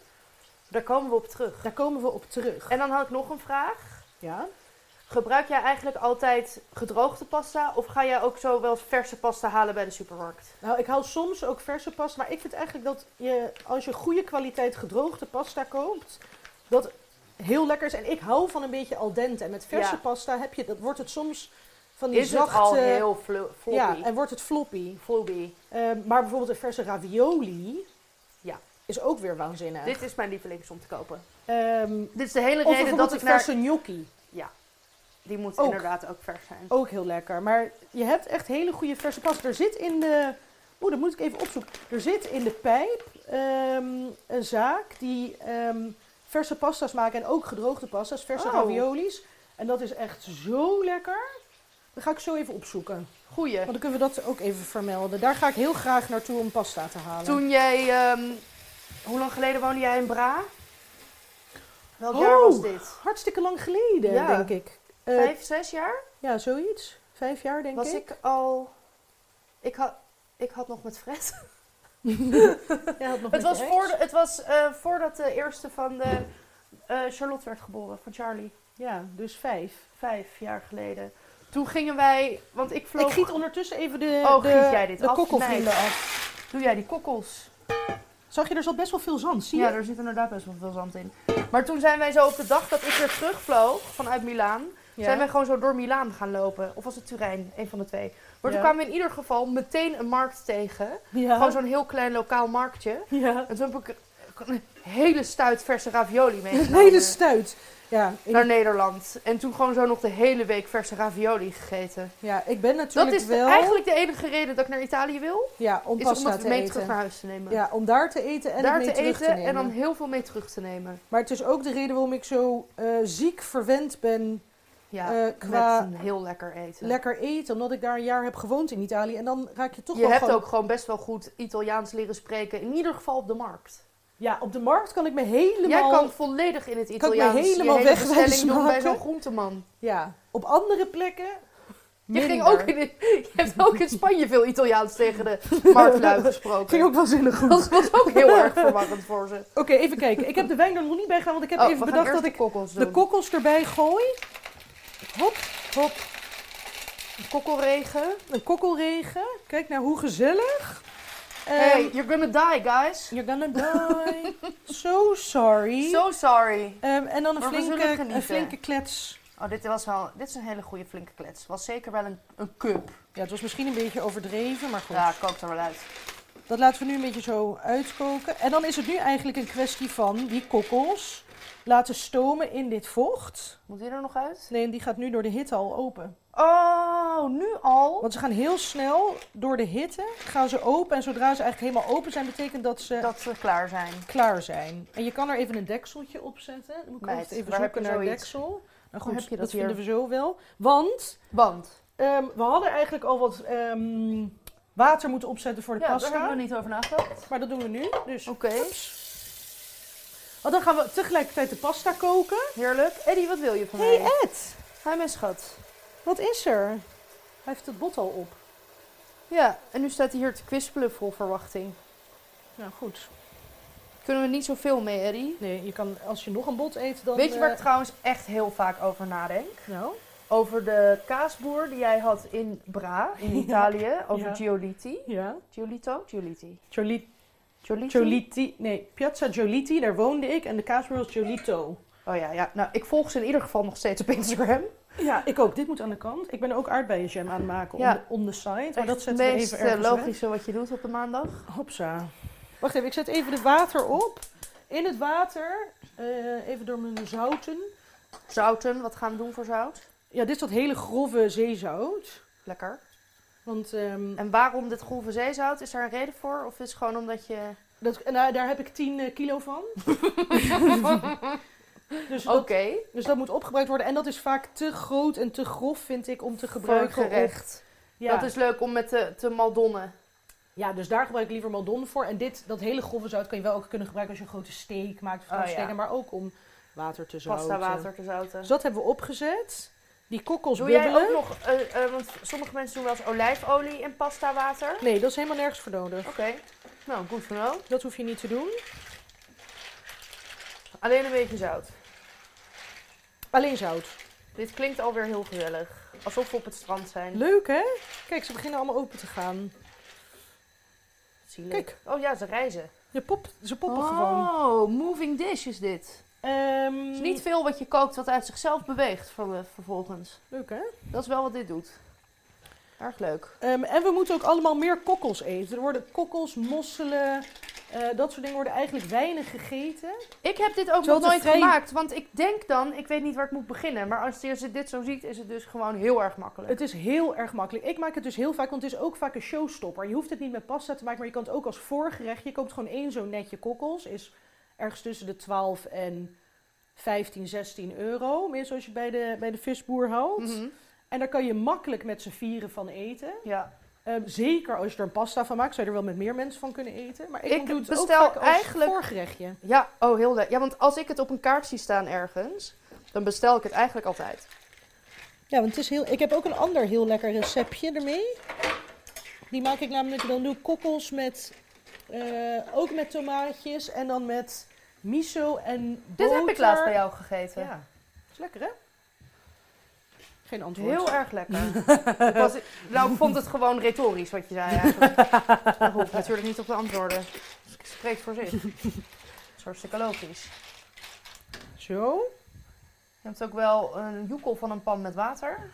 Daar komen we op terug.
Daar komen we op terug.
En dan had ik nog een vraag.
Ja?
Gebruik jij eigenlijk altijd gedroogde pasta? Of ga jij ook zo wel eens verse pasta halen bij de supermarkt?
Nou, ik haal soms ook verse pasta. Maar ik vind eigenlijk dat je, als je goede kwaliteit gedroogde pasta koopt, dat heel lekker is. En ik hou van een beetje al dente. En met verse
Ja.
pasta heb je, dat wordt het soms van die
Is
zachte...
het al heel flo- floppy?
ja, en wordt het floppy.
Floppy.
Eh, maar bijvoorbeeld een verse ravioli
Ja.
is ook weer waanzinnig.
Dit is mijn lievelings om te kopen.
Ehm,
Dit is de hele
of
reden
bijvoorbeeld
dat
een
ik naar...
verse gnocchi,
Die moet
Ook.
inderdaad ook vers zijn.
ook heel lekker. Maar je hebt echt hele goede verse pasta. Er zit in de... Oeh, dat moet ik even opzoeken. Er zit in de pijp ehm, een zaak die ehm, verse pasta's maken en ook gedroogde pasta's, verse
Oh.
raviolis. En dat is echt zo lekker. Dat ga ik zo even opzoeken.
Goeie.
Want dan kunnen we dat ook even vermelden. Daar ga ik heel graag naartoe om pasta te halen.
Toen jij... ehm, hoe lang geleden woonde jij in Bra? Welk
Oh.
jaar was dit?
Hartstikke lang geleden,
Ja.
denk ik. Eh,
Vijf, zes jaar?
Ja, zoiets. Vijf jaar, denk
Was
ik.
ik al... Ik had, ik had nog met Fred...
Jij had nog
Het
met
was,
je
voor
ex.
de- het was eh, voordat de eerste van de, eh, Charlotte werd geboren, van Charlie.
Ja, dus vijf.
Vijf jaar geleden. Toen gingen wij, want ik vloog...
Ik giet ondertussen even de,
Oh,
de,
giet jij dit
de
af?
kokkelvrienden af.
Doe jij die kokkels?
Zag je, er zat best wel veel zand, zie je?
Ja, er zit inderdaad best wel veel zand in. Maar toen zijn wij zo op de dag dat ik weer terugvloog vanuit Milaan,
Ja.
zijn wij gewoon zo door Milaan gaan lopen. Of was het Turijn? Een van de twee. Maar toen
Ja.
kwamen we in ieder geval meteen een markt tegen.
Ja.
Gewoon zo'n heel klein lokaal marktje.
ja.
En toen heb ik een hele stuit verse ravioli
Een
meegenomen.
hele stuit. Ja ik,
naar Nederland. En toen gewoon zo nog de hele week verse ravioli gegeten.
ja, ik ben
Dat
natuurlijk
is
wel...
eigenlijk de enige reden dat ik naar Italië wil.
Ja, om
Is om
pasta
het
te
mee
eten.
terug naar huis te nemen.
Ja, om daar te eten en
Daar
het mee
te
terug
eten
te
en dan
nemen.
heel veel mee terug te nemen.
Maar het is ook de reden waarom ik zo eh, ziek verwend ben
Ja,
eh, qua
met een heel lekker eten.
lekker eten. Omdat ik daar een jaar heb gewoond in Italië. En dan raak je toch
je
wel
hebt
gewoon...
ook gewoon best wel goed Italiaans leren spreken. In ieder geval op de markt.
Ja, op de markt kan ik me helemaal...
Jij kan volledig in het
ik me
Italiaans
helemaal
je hele
wegwijs
bestelling doen bij
maken.
zo'n groenteman.
Ja, op andere plekken...
Je, ging
minder.
ook in, je hebt ook in Spanje veel Italiaans tegen de marktlui gesproken.
Ging ook wel zinnig goed.
Dat was ook heel erg verwarrend voor ze.
Oké, even kijken. Ik heb de wijn er nog niet bij gedaan, want ik heb
Oh, we
even
gaan
bedacht
eerst
dat ik
de kokkels
de
doen.
kokkels erbij gooi. Hop, hop.
kokkelregen.
Een kokkelregen. Kijk nou hoe gezellig. Ehm,
hey, you're gonna die, guys.
You're gonna die. so sorry.
So sorry.
Ehm, en dan een
Maar we
flinke,
zullen
een
genieten.
flinke klets.
Oh, dit, was wel, dit is een hele goede flinke klets. Was zeker wel een, een cup.
Ja, het was misschien een beetje overdreven, maar goed.
Ja, kookt er wel uit.
Dat laten we nu een beetje zo uitkoken. En dan is het nu eigenlijk een kwestie van die kokkels laten stomen in dit vocht.
Moet die er nog uit?
Nee, en die gaat nu door de hitte al open.
Oh, nu al?
Want ze gaan heel snel door de hitte, gaan ze open. En zodra ze eigenlijk helemaal open zijn, betekent dat ze
Dat we klaar zijn.
klaar zijn. En je kan er even een dekseltje op zetten. Dan moet ik
Meid,
altijd even
waar heb
zoeken naar
je
een
zoiets?
deksel. Nou
Waar
goed,
heb je dat
dat
hier?
vinden we zo wel. Want
Want?
ehm, we hadden eigenlijk al wat ehm, water moeten opzetten voor de
Ja, daar
pasta.
hebben we niet over nagedacht.
Maar dat doen we nu. Dus
Oké,
Want dan gaan we tegelijkertijd de pasta koken.
heerlijk. Eddie, wat wil je van
Hey
mij?
Ed,
Hi, mijn schat.
wat is er? Hij heeft het bot al op.
Ja, en nu staat hij hier te kwispelen vol verwachting.
Nou goed.
Kunnen we niet zoveel mee, Eddie?
Nee, je kan, als je nog een bot eet, dan...
Weet je waar ik
eh,
trouwens echt heel vaak over nadenk?
Nou,
Over de kaasboer die jij had in Bra, in Italië. Over
Ja.
Giolitti.
ja.
Giolito? Giolitti.
Joli-
Giolitti?
Giolitti, nee, Piazza Giolitti, daar woonde ik. En de kaasboer was Giolito.
Oh ja, ja, nou ik volg ze in ieder geval nog steeds op Instagram.
Ja, ik ook. Dit moet aan de kant. Ik ben ook aardbeienjam aan het maken
Ja.
on, the, on the side. Maar
Echt
Oh, dat
het
zetten we
meest
even
eh,
ergens weg.
logische wat je doet op de maandag.
Hopsa. Wacht even, ik zet even de water op. In het water, eh, even door mijn zouten.
Zouten, wat gaan we doen voor zout?
Ja, dit is dat hele grove zeezout.
Lekker.
Want ehm,
En waarom dit grove zeezout? Is daar een reden voor? Of is het gewoon omdat je...
dat, en daar- daar heb ik 10 eh, kilo van. dus,
Oké,
dat, dus dat moet opgebruikt worden. En dat is vaak te groot en te grof, vind ik, om te gebruiken.
gebruiken
op-
gerecht.
Ja.
Dat is leuk om met de, te maldonnen.
Ja, dus daar gebruik ik liever Maldon voor. En dit, dat hele grove zout kan je wel ook kunnen gebruiken als je een grote steak maakt. Of
Oh, ja.
steken, Maar ook om water te zouten.
Pasta water te zouten.
Dus dat hebben we opgezet. Die kokkels
Doe jij
bibbelen.
ook nog... eh, eh, want sommige mensen doen wel eens olijfolie in pasta water. Oké.
Nee, dat is helemaal nergens voor nodig.
Nou, goed to know.
Dat hoef je niet te doen.
Alleen een beetje zout.
Alleen zout.
Dit klinkt alweer heel gezellig. Alsof we op het strand zijn.
Leuk hè? Kijk, ze beginnen allemaal open te gaan.
Zielig.
Kijk.
Oh ja, ze reizen.
Je pop, ze
Oh.
poppen gewoon.
moving dish is dit.
Ehm,
Het is niet veel wat je kookt wat uit zichzelf beweegt ver- eh, vervolgens.
Leuk hè?
Dat is wel wat dit doet. Erg leuk.
Ehm, en we moeten ook allemaal meer kokkels eten. Er worden kokkels, mosselen, eh, dat soort dingen worden eigenlijk weinig gegeten.
Ik heb dit ook
Zo
nog nooit
tevreden.
gemaakt, want ik denk dan, ik weet niet waar ik moet beginnen. Maar als je dit zo ziet, is het dus gewoon heel erg makkelijk.
Het is heel erg makkelijk. Ik maak het dus heel vaak, want het is ook vaak een showstopper. Je hoeft het niet met pasta te maken, maar je kan het ook als voorgerecht. Je koopt gewoon één zo'n netje kokkels. Is ergens tussen de 12 en 15, 16 euro. Meer zoals je bij de, bij de visboer haalt.
Mhm.
En daar kan je makkelijk met z'n vieren van eten.
Ja.
Ehm, zeker als je er een pasta van maakt, zou je er wel met meer mensen van kunnen eten. Maar ik,
Ik
doe het ook
bestel
vaak als
eigenlijk-
voorgerechtje.
ja, oh heel leuk. Ja, want als ik het op een kaart zie staan ergens, dan bestel ik het eigenlijk altijd.
Ja, want het is heel, ik heb ook een ander heel lekker receptje ermee. Die maak ik namelijk, dan doe ik kokkels met, eh, ook met tomaatjes en dan met miso en boter.
Dit heb ik laatst bij jou gegeten.
Ja, is lekker hè? Geen antwoord.
Heel erg lekker. Ik was, nou, ik vond het gewoon retorisch wat je zei eigenlijk. Daar hoef ik natuurlijk niet op te antwoorden. spreekt voor zich. dat is hartstikke logisch.
Zo.
Je hebt ook wel een joekel van een pan met water.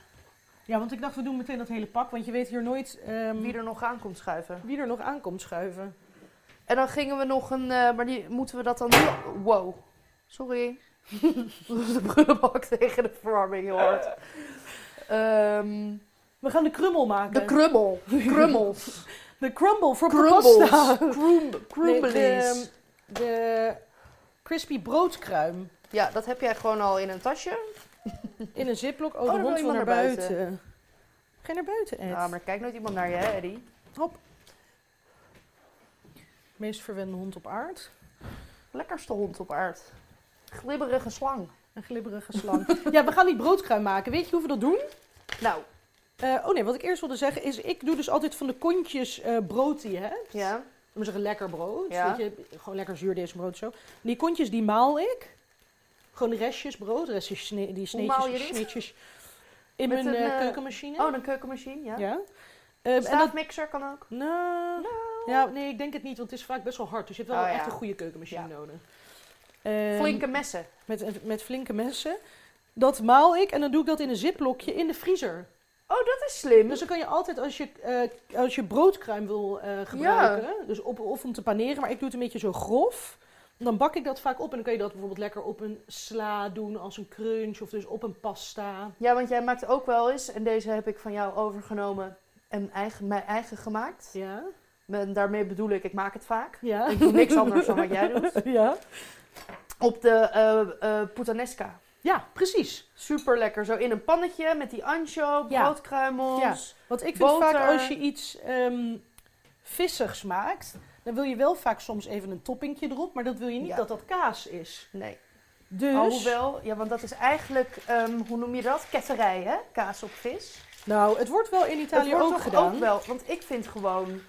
Ja, want ik dacht, we doen meteen dat hele pak, want je weet hier nooit ehm,
Wie er nog aan komt schuiven.
wie er nog aankomt schuiven.
En dan gingen we nog een... eh, maar die, moeten we dat dan... nu- Wow. Sorry. de brullenbak tegen de verwarming heel hard.
Eh.
Ehm,
We gaan de krummel maken.
de krummel. Krummels.
De crumble voor
Crumbles.
pasta.
Krum,
Nee, ehm,
krumblies.
de, de crispy broodkruim.
Ja, dat heb jij gewoon al in een tasje.
In een ziplock. Oh,
Oh,
de
dan wil
hond wil naar
iemand naar
buiten.
buiten.
Ga je naar buiten, Ed?
Nou, maar er kijkt nooit iemand naar je, hè, Eddie?
Meest verwende hond op aard.
Lekkerste hond op aard. Glibberige slang.
Een glibberige slang. ja, we gaan die broodkruim maken. Weet je hoe we dat doen?
Nou,
Eh, oh nee, wat ik eerst wilde zeggen is, ik doe dus altijd van de kontjes eh brood die je hebt.
ja.
Om zeggen lekker brood.
Ja.
Weet je, gewoon lekker zuurdeesbrood zo. Die kontjes die maal ik. Gewoon de restjes brood, de restjes sne- die sneetjes.
maal je dit?
sneetjes in
Met
mijn
een,
eh,
eh,
keukenmachine.
Oh, een keukenmachine, ja.
ja. Ehm, en dat,
Staafmixer kan ook.
nou,
Nou.
ja, nee, ik denk het niet, want het is vaak best wel hard. Dus je hebt wel
Oh,
echt
ja.
een goede keukenmachine
Ja.
nodig. Ehm,
Flinke messen.
Met, eh, met flinke messen. Dat maal ik en dan doe ik dat in een ziplokje in de vriezer.
Oh, dat is slim.
Dus dan kan je altijd als je, eh, als je broodkruim wil eh, gebruiken, dus op, of om te paneren, maar ik doe het een beetje zo grof. Dan bak ik dat vaak op en dan kan je dat bijvoorbeeld lekker op een sla doen als een crunch of dus op een pasta.
Ja, want jij maakt ook wel eens, en deze heb ik van jou overgenomen en eigen, mijn eigen gemaakt.
Ja.
En daarmee bedoel ik, ik maak het vaak.
Ja.
Ik doe niks anders dan wat jij doet.
ja.
Op de eh eh puttanesca.
Ja, precies.
Super lekker. Zo in een pannetje met die ancho,
Ja.
broodkruimels.
Want ik vind
Boter.
vaak als je iets ehm, vissigs maakt, dan wil je wel vaak soms even een toppingje erop, maar dat wil je niet
Ja. Oh,
dat dat kaas is.
Nee.
Dus...
Alhoewel, ja, want dat is eigenlijk, ehm, hoe noem je dat? Ketterij, hè? Kaas op vis.
Nou, het wordt wel in Italië
wordt
ook
toch
gedaan.
ook wel, want ik vind gewoon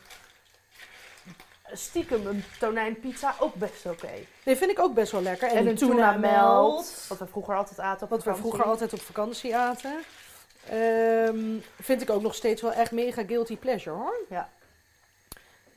stiekem een tonijnpizza ook best oké.
Nee, vind ik ook best wel lekker. En,
En
de
een
tuna,
tuna
melt.
melt. Wat we vroeger altijd aten op
Wat we
vakantie.
vroeger altijd op vakantie aten. Ehm, vind ik ook nog steeds wel echt mega guilty pleasure hoor.
Ja.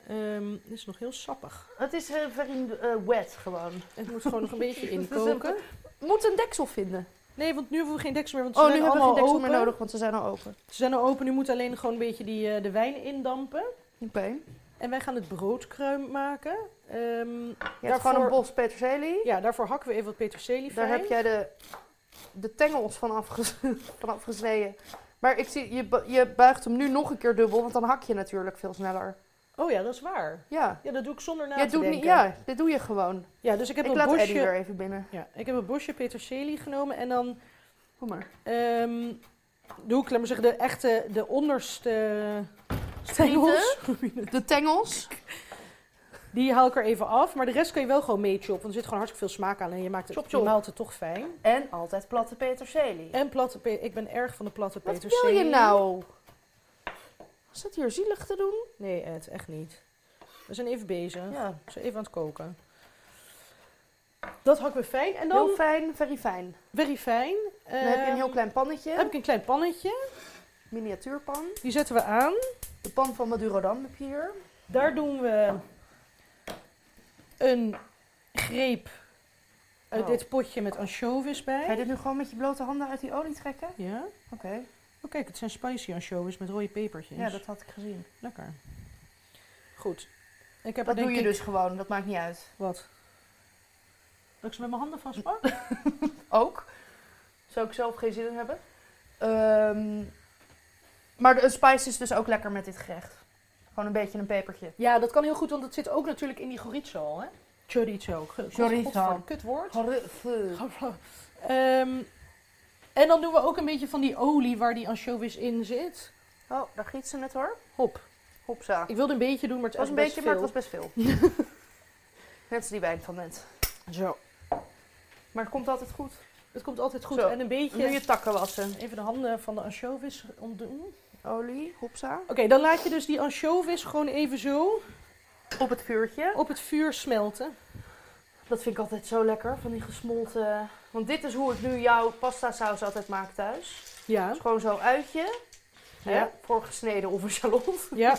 Ehm, dit is nog heel sappig.
Het is eh, very eh, wet gewoon.
Het moet gewoon nog een beetje inkoken.
Moet een deksel vinden.
Nee, want nu hebben we geen deksel meer. Want ze
Oh, nu
zijn
hebben we
allemaal
geen deksel
open.
meer nodig, want ze zijn al open.
Ze zijn al open. Nu moet alleen gewoon een beetje die, eh, de wijn indampen.
Oké.
En wij gaan het broodkruim maken. Ehm,
Je hebt gewoon een bos peterselie.
Ja, daarvoor hakken we even wat peterselie
Daar
fijn.
heb jij de, de tengels van, afges van afgesneden. Maar ik zie, je, bu- je buigt hem nu nog een keer dubbel, want dan hak je natuurlijk veel sneller.
Oh ja, dat is waar.
Ja.
Ja, dat doe ik zonder na
Jij
te
doet
denken.
niet, ja, dit doe je gewoon.
Ja, dus ik heb
Ik,
een
laat
bosje.
Eddie weer even binnen.
Ja, ik heb een bosje peterselie genomen en dan
Kom maar.
ehm, doe ik, laat maar zeggen, de echte, de onderste stengels.
De tengels.
Die haal ik er even af, maar de rest kan je wel gewoon mee choppen, want er zit gewoon hartstikke veel smaak aan en je maakt het,
Chop, chop.
je maalt het toch fijn.
En altijd platte peterselie.
En platte pe- ik ben erg van de platte
Wat
peterselie.
wil je nou? Is dat hier zielig te doen?
Nee Ed, echt niet. We zijn even bezig.
Ja.
We zijn even aan het koken. Dat hakken we fijn en
Heel
dan,
fijn, very fijn.
very fijn.
Dan heb je een
Ehm,
heel klein pannetje,
heb ik een klein pannetje,
miniatuurpan.
die zetten we aan.
De pan van Madurodam heb je hier.
Daar doen we een greep uit
Oh.
dit potje met anchovies
Ga je
bij.
dit nu gewoon met je blote handen uit die olie trekken?
Ja.
Oké,
Oh kijk, het zijn spicy anchovies met rode pepertjes.
ja, dat had ik gezien.
Lekker. Goed. Ik heb
Dat
er
doe
denk
je
ik...
dus gewoon, dat maakt niet uit.
Wat? Dat ik ze met mijn handen vastpak?
Ook. Zou ik zelf geen zin in hebben. Ehm, maar de een spice is dus ook lekker met dit gerecht. Gewoon een beetje een pepertje.
ja, dat kan heel goed, want dat zit ook natuurlijk in die chorizo al, hè? Chorizo.
Chorizo.
Godverdomme, Kut woord.
Harre-
Ehm, en dan doen we ook een beetje van die olie waar die anchovies in zit.
Oh, daar giet ze net hoor.
Hop.
Hopsa.
Ik wilde een beetje doen, maar het
Het was een
best
beetje, maar het
veel.
was best veel. net als die wijn van net.
Zo.
Maar het komt altijd goed.
Het komt altijd goed.
Zo.
En een
Dan doe
beetje
je takken wassen.
even de handen van de anchovies ontdoen. Oké,
Olie, hopsa.
dan laat je dus die anchovies gewoon even zo
Op het vuurtje.
op het vuur smelten.
Dat vind ik altijd zo lekker, van die gesmolten... Want dit is hoe ik nu jouw pasta saus altijd maak thuis.
Ja.
Dus gewoon zo uitje. Hè?
Ja.
Voorgesneden of een shallot.
Ja.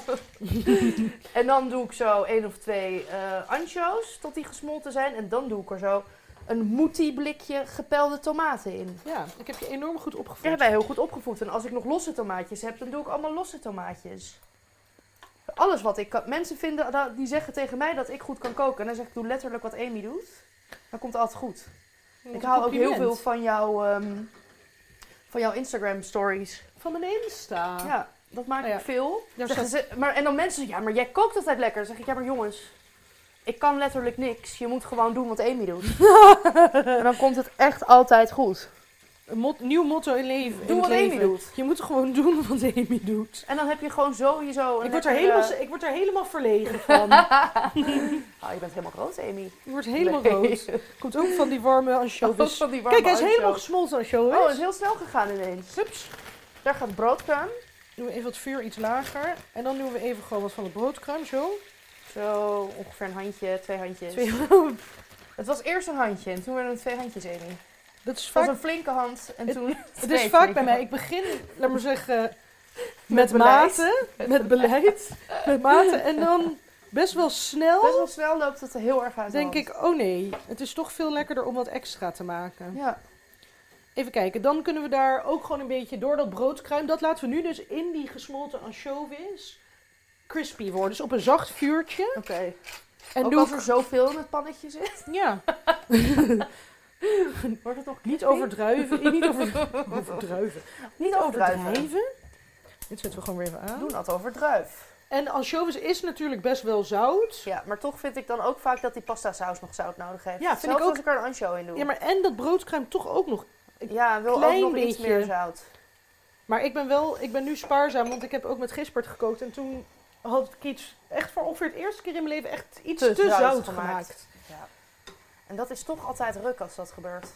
En dan doe ik zo één of twee eh ancho's tot die gesmolten zijn. En dan doe ik er zo een moetie blikje gepelde tomaten in.
ja, ik heb je enorm goed
Daar
opgevoed.
hebben wij heel goed opgevoed. En als ik nog losse tomaatjes heb, dan doe ik allemaal losse tomaatjes. Alles wat ik kan. Mensen vinden, nou, die zeggen tegen mij dat ik goed kan koken. En dan zeg ik, doe letterlijk wat Amy doet. Dan komt het altijd goed.
Wat
ik
een
hou ook heel
compliment.
veel van, jouw ehm, van jouw Instagram stories.
van mijn Insta.
Ja, dat maak
Oh ja.
ik veel.
Daar
Zeggen ze- maar, en dan mensen, ja, maar jij kookt altijd lekker. Dan zeg ik, ja, maar jongens, ik kan letterlijk niks. Je moet gewoon doen wat Amy doet. en dan komt het echt altijd goed.
Een mot- nieuw motto in leven.
Doe
in
wat
het
Amy
leven.
doet.
Je moet gewoon doen wat Amy doet.
En dan heb je gewoon zo je zo. een
Ik word, er
lekkere-
helemaal, ik word er helemaal verlegen van.
Oh, je bent helemaal rood, Amy.
Ik word helemaal rood. Komt ook van die warme anchovies.
van die warme
Kijk, hij is
ancho.
helemaal gesmolten anchovies.
Oh, het is heel snel gegaan ineens.
Hups.
Daar gaat broodkruim.
Doen we even het vuur iets lager. En dan doen we even gewoon wat van de broodkruim zo.
Zo, ongeveer een handje, twee handjes.
Twee-
Het was eerst een handje en toen werden het twee handjes, Amy.
Dat is
Het was
vaak,
een flinke hand en
Het-
toen...
het is vaak bij mij. Ik begin, laat maar zeggen, met,
Met beleid.
maten. Met beleid. Met maten. En dan best wel snel
Best wel snel loopt het er heel erg uit de
denk
hand.
ik, oh nee, het is toch veel lekkerder om wat extra te maken.
Ja.
Even kijken, dan kunnen we daar ook gewoon een beetje door dat broodkruim. Dat laten we nu dus in die gesmolten anchovies crispy worden. Dus op een zacht vuurtje.
Oké.
En
ook
doe
als er zoveel in het pannetje zit,
Ja,
wordt het toch
niet overdruiven. eh, Niet over, overdruiven.
Niet overdruiven.
Dit zetten we gewoon weer even aan.
Doen dat overdruif.
En anchovies is natuurlijk best wel zout.
Ja, maar toch vind ik dan ook vaak dat die pasta saus nog zout nodig heeft.
Ja, vind
Zelfs
ik ook.
als ik er een ancho in doe.
Ja, maar en dat broodkruim toch ook nog.
Ja, wil
klein
ook nog iets
beetje.
meer zout.
Maar ik ben wel, ik ben nu spaarzaam, want ik heb ook met gispert gekookt. En toen had ik iets, echt voor ongeveer het eerste keer in mijn leven, echt iets te, zout, gemaakt.
Ja. En dat is toch altijd ruk als dat gebeurt.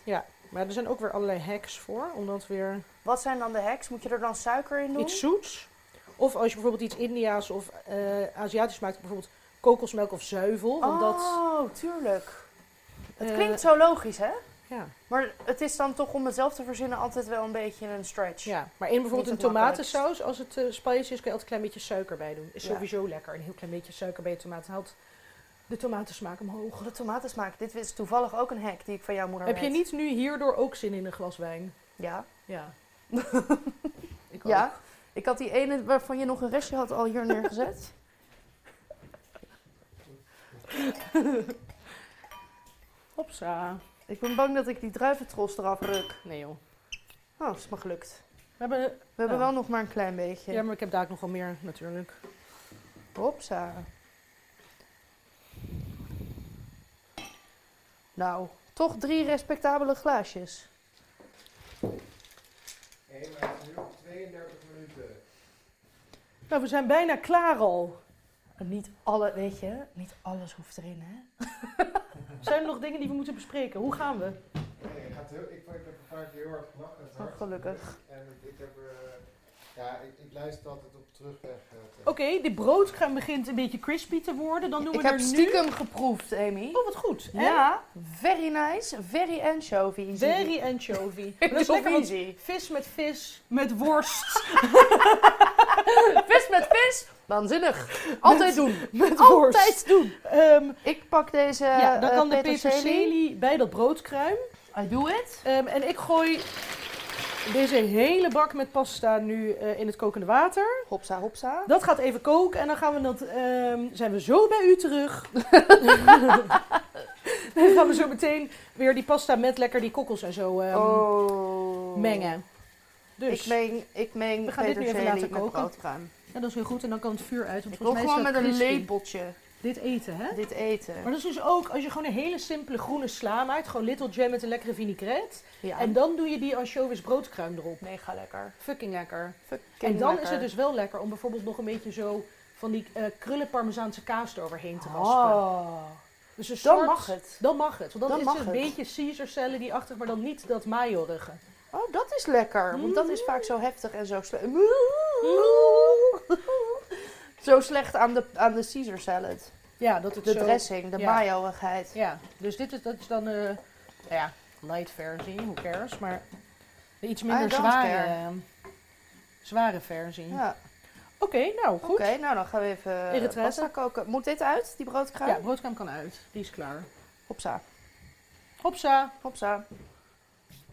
Maar er zijn ook weer allerlei hacks voor, omdat weer
Wat zijn dan de hacks? Moet je er dan suiker in doen?
iets zoets. Of als je bijvoorbeeld iets Indiaas of eh, Aziatisch maakt, bijvoorbeeld kokosmelk of zuivel.
oh,
Want dat,
tuurlijk. Het
eh,
klinkt zo logisch, hè?
Ja,
Maar het is dan toch om het zelf te verzinnen altijd wel een beetje een stretch.
ja. maar in bijvoorbeeld een
Niet het makkelijkst.
tomatensaus, als het eh spicy is, kun je altijd een klein beetje suiker bij doen. Is
Ja.
sowieso lekker, een heel klein beetje suiker bij je tomaten haalt de tomatensmaak omhoog.
Oh, De tomatensmaak. Dit is toevallig ook een hack die ik van jouw moeder
Heb je
weet.
niet nu hierdoor ook zin in een glas wijn?
Ja.
Ja. ik
Ja, ik had die ene waarvan je nog een restje had al hier neergezet.
Hopsa.
ik ben bang dat ik die druiventros eraf ruk.
Nee joh.
Oh, is me gelukt.
We hebben,
We hebben
Ja.
wel nog maar een klein beetje.
ja, maar ik heb daar ook nog wel meer natuurlijk.
Hopsa. Nou, toch drie respectabele glaasjes.
Hé, maar het is nu nog 32 minuten.
Nou, we zijn bijna klaar al.
Niet alle, weet je, niet alles hoeft erin, hè?
Zijn er nog dingen die we moeten bespreken? Hoe gaan we?
Nee, ik, had heel, ik, vond- ik heb een paar keer heel hard gelachen. Het
Oh,
hart.
gelukkig.
En het- ik heb. eh, ja, ik, ik luister altijd op terugweg. eh,
Oké, die broodcrème begint een beetje crispy te worden. Dan doen we
ik
er
heb
nu...
stiekem geproefd, Amy.
Oh, wat goed. En
Ja, very nice, very anchovy.
Very anchovy.
Dat
Dat is lekker, want
easy.
vis met vis met worst.
Vis met vis, waanzinnig. Altijd doen.
Met worst.
Altijd doen.
Ehm,
Ik pak deze
ja, dan
eh,
kan de
peterselie.
peterselie bij dat broodkruim.
I do it.
Ehm, en ik gooi deze hele bak met pasta nu eh, in het kokende water.
Hopsa, hopsa.
Dat gaat even koken en dan gaan we dat, ehm, zijn we zo bij u terug. dan gaan we zo meteen weer die pasta met lekker die kokkels en zo ehm,
oh.
mengen. Dus
Ik meng, ik meng
We gaan dit nu even
peterselie
laten
met
koken.
broodkruim.
ja, dat is heel goed en dan kan het vuur uit. Want
Ik wil
volgens mij
gewoon
is
met
dat
een
crispy.
lepeltje
Dit eten, hè?
dit eten.
Maar dat is dus ook als je gewoon een hele simpele groene sla maakt. Gewoon little jam met een lekkere vinaigrette.
Ja,
En dan doe je die anchovies broodkruim erop.
mega lekker.
Fucking lekker.
Fucking
en dan is
lekker.
het dus wel lekker om bijvoorbeeld nog een beetje zo van die eh krullen parmezaanse kaas eroverheen te raspen.
Oh.
Dus een
Dan
soort-
mag het.
Dan mag het. Want dan,
Dan
is
mag
het een
het.
beetje Caesar celery achtig maar dan niet dat mayo-rugge.
Oh, dat is lekker. Want dat is vaak zo heftig en zo slecht. Zo slecht aan de, aan de Caesar salad.
Ja, dat het
De
zo...
dressing, de
ja.
mayo-igheid.
Ja, dus dit is, dat is dan, eh, nou ja, light versie, who cares, maar de iets minder
don't
zware.
care.
eh, zware versie.
Ja.
Oké, nou
Oké,
goed.
nou dan gaan we even eh,
Eritrea's.
pasta koken. Moet dit uit, die broodkraam?
Ja, broodkraam kan uit. Die is klaar.
Hopsa.
Hopsa,
Hopsa.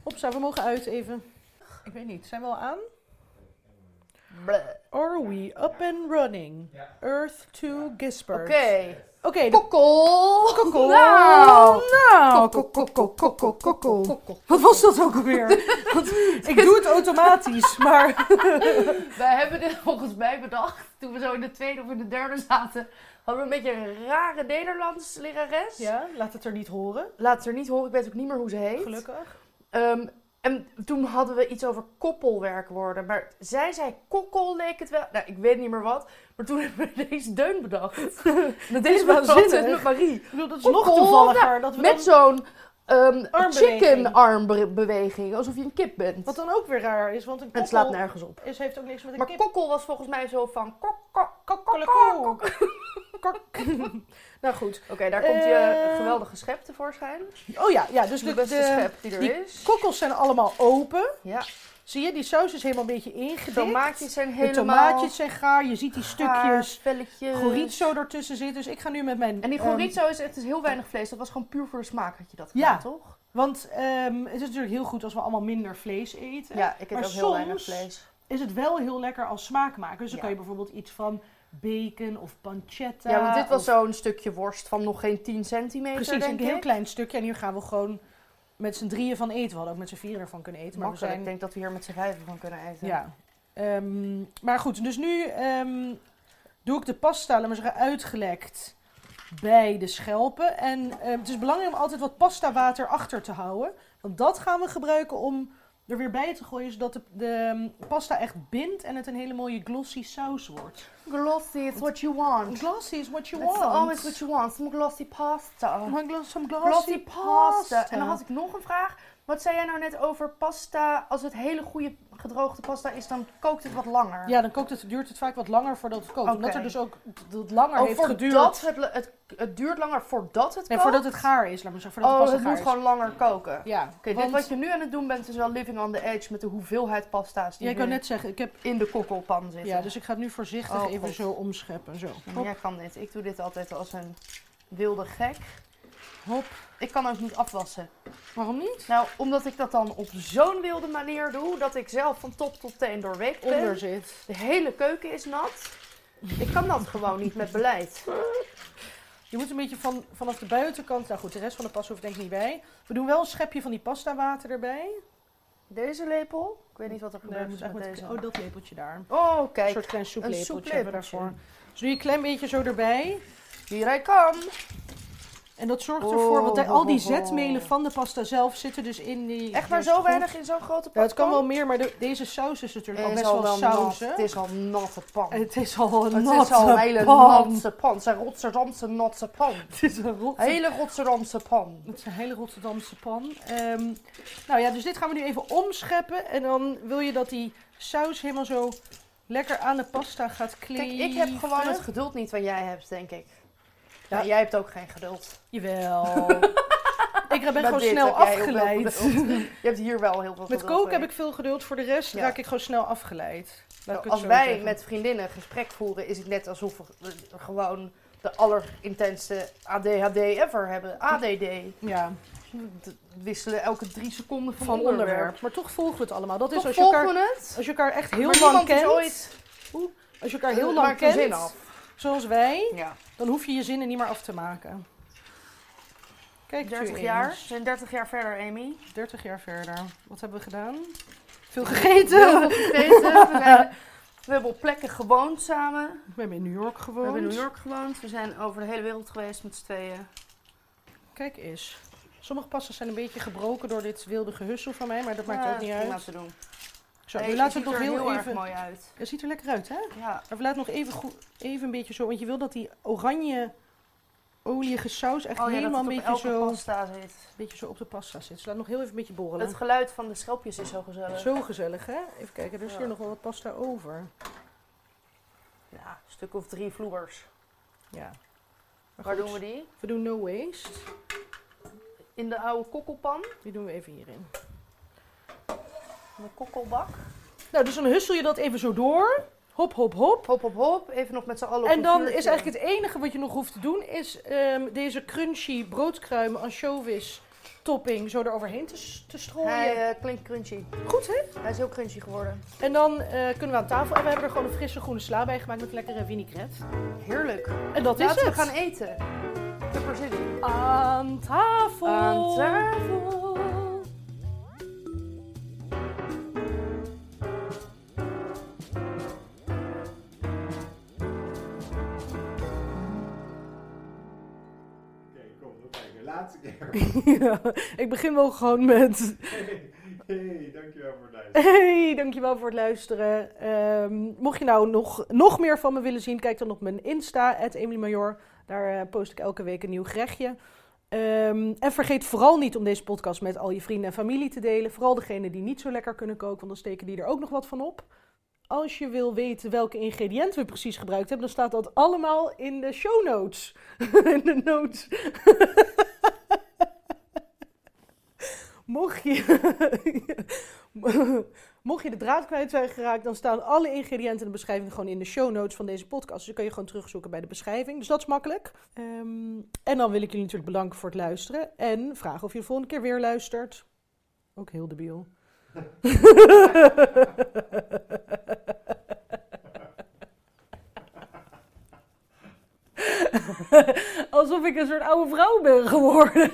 hopsa, we mogen uit even. Ik weet niet, zijn we al aan?
Bleh.
Are we up and running?
Ja.
Earth to Gisbert.
Oké.
Oké, de
Kokkel.
kokkel.
Nou.
Nou,
Kokkel,
kokkel, kokkel, kokkel.
Kokkel.
Wat was dat ook alweer? Want ik doe het automatisch, maar...
Wij hebben dit volgens mij bedacht toen we zo in de tweede of in de derde zaten. Hadden we een beetje een rare Nederlands lerares.
Ja, laat het er niet horen.
Laat het er niet horen, ik weet ook niet meer hoe ze heet.
Gelukkig.
Ehm, en toen hadden we iets over koppelwerkwoorden. Maar zij zei kokkel leek het wel. Nou, ik weet niet meer wat. Maar toen hebben we deze deun bedacht.
Dat
Deze was altijd met Marie.
Ik bedoel, dat is
Kokkel,
nog toevalliger. Dat we dan-
Met zo'n ehm
Armbeweging.
chicken armbeweging. Alsof je een kip bent.
Wat dan ook weer raar is, want een
En
kokkel
het slaat nergens op.
is, heeft ook niks met een
Maar
kip.
kokkel was volgens mij zo van kok, kok, kok, kok, kok,
Kokkelekoo. Kok- nou goed.
Oké, daar komt je
Eh,
geweldige schep tevoorschijn.
Oh ja, ja dus
Dus
de,
de beste
de
schep die er
die
is.
kokkels zijn allemaal open.
Ja,
Zie je, die saus is helemaal een beetje ingedikt.
tomaatjes zijn
de
helemaal
tomaatjes zijn gaar. Je ziet die
gaar,
stukjes
velletjes.
chorizo ertussen zitten. Dus ik ga nu met mijn...
En die
ehm,
chorizo is, het is heel weinig vlees. Dat was gewoon puur voor de smaak had je dat
Ja.
gedaan, toch?
want ehm, het is natuurlijk heel goed als we allemaal minder vlees eten.
Ja, ik heb
Maar
ook heel weinig
soms-
vlees.
Is het wel heel lekker als smaakmaker. Dus dan
Ja.
kan je bijvoorbeeld iets van bacon of pancetta.
Ja, want dit was
of-
zo'n stukje worst van nog geen 10 centimeter,
Precies,
denk
een heel
ik.
klein stukje. En hier gaan we gewoon met z'n drieën van eten. We hadden ook met z'n vieren ervan kunnen eten. Maar we
Makkelijk. Ik
zijn...
denk dat we hier met z'n vijven van kunnen eten.
Ja. Ehm, maar goed, dus nu ehm, doe ik de pasta, laat maar zeggen, uitgelekt bij de schelpen. En ehm, het is belangrijk om altijd wat pasta water achter te houden. Want dat gaan we gebruiken om er weer bij te gooien, zodat de, de ehm, pasta echt bindt en het een hele mooie glossy saus wordt.
Glossy, it's what you want.
Glossy is what you
It's
want.
always what you want. Some glossy pasta.
you want. Some glossy,
Glossy
pasta.
pasta. En dan had ik nog een vraag. Wat zei jij nou net over pasta? Als het hele goede gedroogde pasta is, dan kookt het wat langer.
Ja, dan kookt het, duurt het vaak wat langer voordat het kookt. Omdat
Oké.
er dus ook dat langer
oh,
heeft
voordat
geduurd.
Het, le- het, het duurt langer voordat het
Nee,
kookt?
voordat het gaar is, laat maar zeggen. Voordat
oh,
het
het
pasta gaar
moet
is.
gewoon langer koken. Oké,
Ja,
dit
want-
wat je nu aan het doen bent is wel living on the edge met de hoeveelheid pasta's die
ja, ik wou
nu
net zeggen, ik heb...
in de kokkelpan zitten.
Ja, dus ik ga het nu voorzichtig
Oh,
even
God.
zo omscheppen. Zo.
Ja, maar
Hop,
jij kan dit. Ik doe dit altijd als een wilde gek.
hop.
Ik kan ook niet afwassen.
Waarom niet?
Nou, omdat ik dat dan op zo'n wilde manier doe, dat ik zelf van top tot teen doorweekt ben.
Onder zit.
De hele keuken is nat. Ik kan dat gewoon niet met beleid.
Je moet een beetje van, vanaf de buitenkant... Nou goed, de rest van de pas hoeft denk ik niet bij. We doen wel een schepje van die pasta water erbij.
Deze lepel. Ik weet niet wat er
Nee,
gebeurt
moet
met
eigenlijk met-
deze.
Oh, dat lepeltje daar.
Oh,
Een
kijk.
soort klein soeplepeltje hebben we
soeplepeltje.
daarvoor. Dus doe je een klein beetje zo erbij.
Hier ik kan.
En dat zorgt
Oh,
ervoor, want daar- al die
ho, ho, ho.
zetmelen van de pasta zelf zitten dus in die...
Echt maar
dus
zo
goed.
weinig in zo'n grote
Ja,
pan.
het kan wel meer, maar de- deze saus is natuurlijk al
Het is
best
al
wel
wel nat.
sauzen.
Het is al een natte pan. Het
Het is al een
is al een hele
pan.
natte pan. Het is een Rotterdamse natte pan.
Het is een rotte
Hele Rotterdamse pan.
Het is een hele Rotterdamse pan. Ehm, nou ja, dus dit gaan we nu even omscheppen. En dan wil je dat die saus helemaal zo lekker aan de pasta gaat
Kijk,
kleven.
ik heb gewoon het geduld niet wat jij hebt, denk ik.
Ja.
Maar jij hebt ook geen geduld.
Jawel. ik ben
Met
gewoon
dit
snel
heb jij heel veel
afgeleid.
geduld. Je hebt hier wel heel veel
Met
geduld
koken
mee.
heb ik veel geduld. Voor de rest
Ja. Nou,
raak ik gewoon snel afgeleid. Laat ik het
als
zo
wij
zeggen.
met vriendinnen een gesprek voeren, is het net alsof we eh, gewoon de allerintenste ADHD ever hebben. ADD.
Ja,
We wisselen elke drie seconden van,
van
onderwerp.
onderwerp. Maar toch volgen we het allemaal. Dat is
Toch
als je,
volgen
elkaar,
we het.
als je elkaar echt heel
maar
lang
niemand is
kent.
ooit
Als je elkaar heel
Het
lang
maakt de zin
kent,
af.
zoals wij,
Ja.
dan hoef je je zinnen niet meer af te maken. Kijk,
30
u
jaar. We
eens.
zijn 30 jaar verder, Amy.
30 jaar verder. Wat hebben we gedaan? Veel
Heel
gegeten.
veel gegeten. We, zijn- we hebben op plekken gewoond samen.
We hebben in New York
We
gewoond.
hebben in New York gewoond. We zijn over de hele wereld geweest met z'n tweeën.
Kijk eens. Sommige passen zijn een beetje gebroken door dit wilde gehussel van mij, maar dat maakt
Ja,
ook niet
dat is prima
uit.
te doen.
Zo,
Hey,
nu
het
laten
ziet
we het
er
nog heel,
heel erg
even...
mooi uit.
Het ziet er lekker uit, hè?
Ja.
Maar we laten nog even, goed, even een beetje zo, want je wil dat die oranje olijige saus echt
Oh ja, dat
helemaal
het
een
op
beetje
elke
zo, een
pasta zit.
beetje zo op de pasta zit. Dus laat nog heel even een beetje borrelen.
Het geluid van de schelpjes is zo gezellig.
Zo gezellig, hè? Even kijken, er is
Ja.
hier nog wel wat pasta over.
Ja, een stuk of drie vloers.
Ja. Maar
Waar
goed,
doen we die?
we doen no waste.
In de oude kokkelpan.
Die doen we even hierin.
In de kokkelbak.
Nou, dus dan hussel je dat even zo door. Hop, hop, hop.
Hop, hop, hop. Even nog met z'n allen op
En
een
dan
vuurtje.
is eigenlijk het enige wat je nog hoeft te doen, is ehm, deze crunchy broodkruim, anchovies, topping zo eroverheen te, s- te strooien.
Hij eh, klinkt crunchy.
Goed hè?
Hij is heel crunchy geworden.
En dan eh, kunnen we aan tafel en we hebben er gewoon een frisse groene sla bij gemaakt met lekkere vinaigrette.
Heerlijk.
En dat
Laten
is
we
het.
gaan eten. Pepper City.
Aan tafel.
Aan
tafel.
Oké, kom, nog kijken. Laatste keer.
ik begin wel gewoon met.
Hey, dankjewel voor het luisteren.
Hey, dankjewel voor het luisteren. Ehm, mocht je nou nog, nog meer van me willen zien, kijk dan op mijn Insta, Emily Major. Daar eh, post ik elke week een nieuw gerechtje. Ehm, en vergeet vooral niet om deze podcast met al je vrienden en familie te delen. Vooral degenen die niet zo lekker kunnen koken, want dan steken die er ook nog wat van op. Als je wil weten welke ingrediënten we precies gebruikt hebben, dan staat dat allemaal in de show notes. in de notes. Mocht je, Mocht je de draad kwijt zijn geraakt, dan staan alle ingrediënten in de beschrijving gewoon in de show notes van deze podcast. Dus dan kun je gewoon terugzoeken bij de beschrijving. Dus dat is makkelijk. Ehm, en dan wil ik jullie natuurlijk bedanken voor het luisteren. En vragen of je de volgende keer weer luistert. Ook heel debiel. Alsof ik een soort oude vrouw ben geworden.